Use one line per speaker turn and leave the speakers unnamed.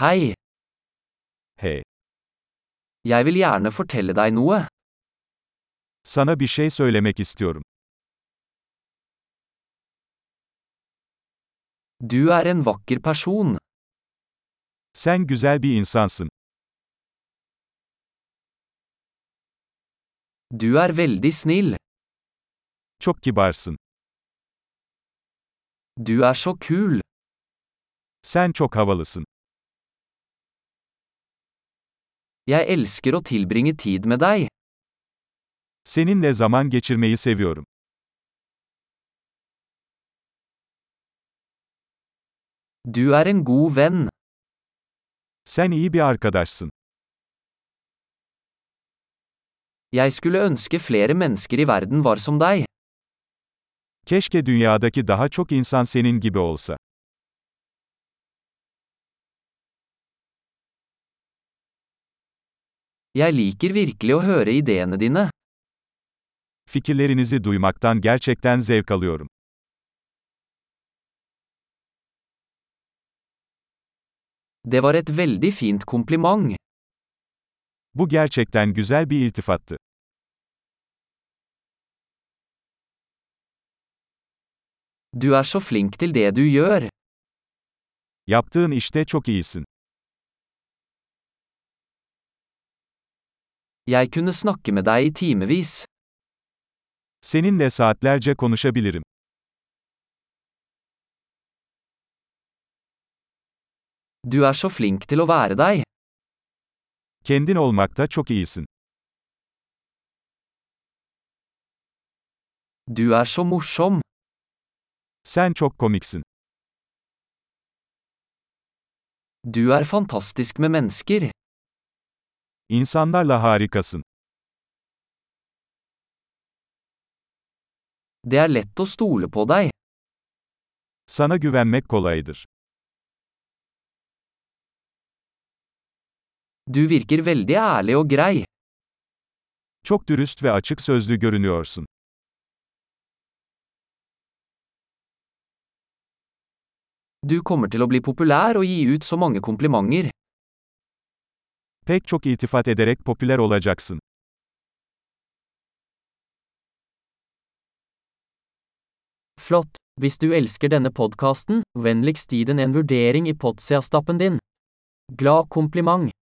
Hei,
Hey,
jeg vil gjerne fortelle deg noe.
sana bir şey söylemek istiyorum.
Du er en vakker person.
Sen güzel bir insansın.
Du er veldig snill.
Çok kibarsın.
Du er så kul.
Sen çok havalısın.
Jeg elsker å tilbringe tid med deg.
Seninle zaman geçirmeyi seviyorum.
Du er en god venn.
Sen iyi bir arkadaşsın.
Jeg skulle ønske flere mennesker i verden var som deg.
Keşke dünyadaki daha çok insan senin gibi olsa.
Jeg liker virkelig å høre ideene dine.
Fikirlerinizi duymaktan gerçekten zevk alıyorum.
Det var et veldig fint kompliment.
Bu gerçekten güzel bir iltifattı.
Du er så flink til det du gjør.
Yaptığın işte çok iyisin.
Jeg kunne snakke med deg i timevis.
Seninle saatlerce konuşabilirim.
Du er så flink til å være deg.
Kendin olmakta çok iyisin.
Du er så morsom.
Sen çok komiksin.
Du er fantastisk med mennesker.
İnsanlarla harikasın.
Det er lett å stole på deg.
Sana güvenmek kolaydır.
Du virker veldig ærlig og grei.
Çok dürüst ve açık sözlü görünüyorsun.
Du kommer til å bli populær og gi ut så mange komplimenter.
Pek çok iltifat ederek popüler olacaksın.
Flott! Hvis du elsker denne podkasten, vennligst gi den en vurdering i podseastappen din. Glad kompliment!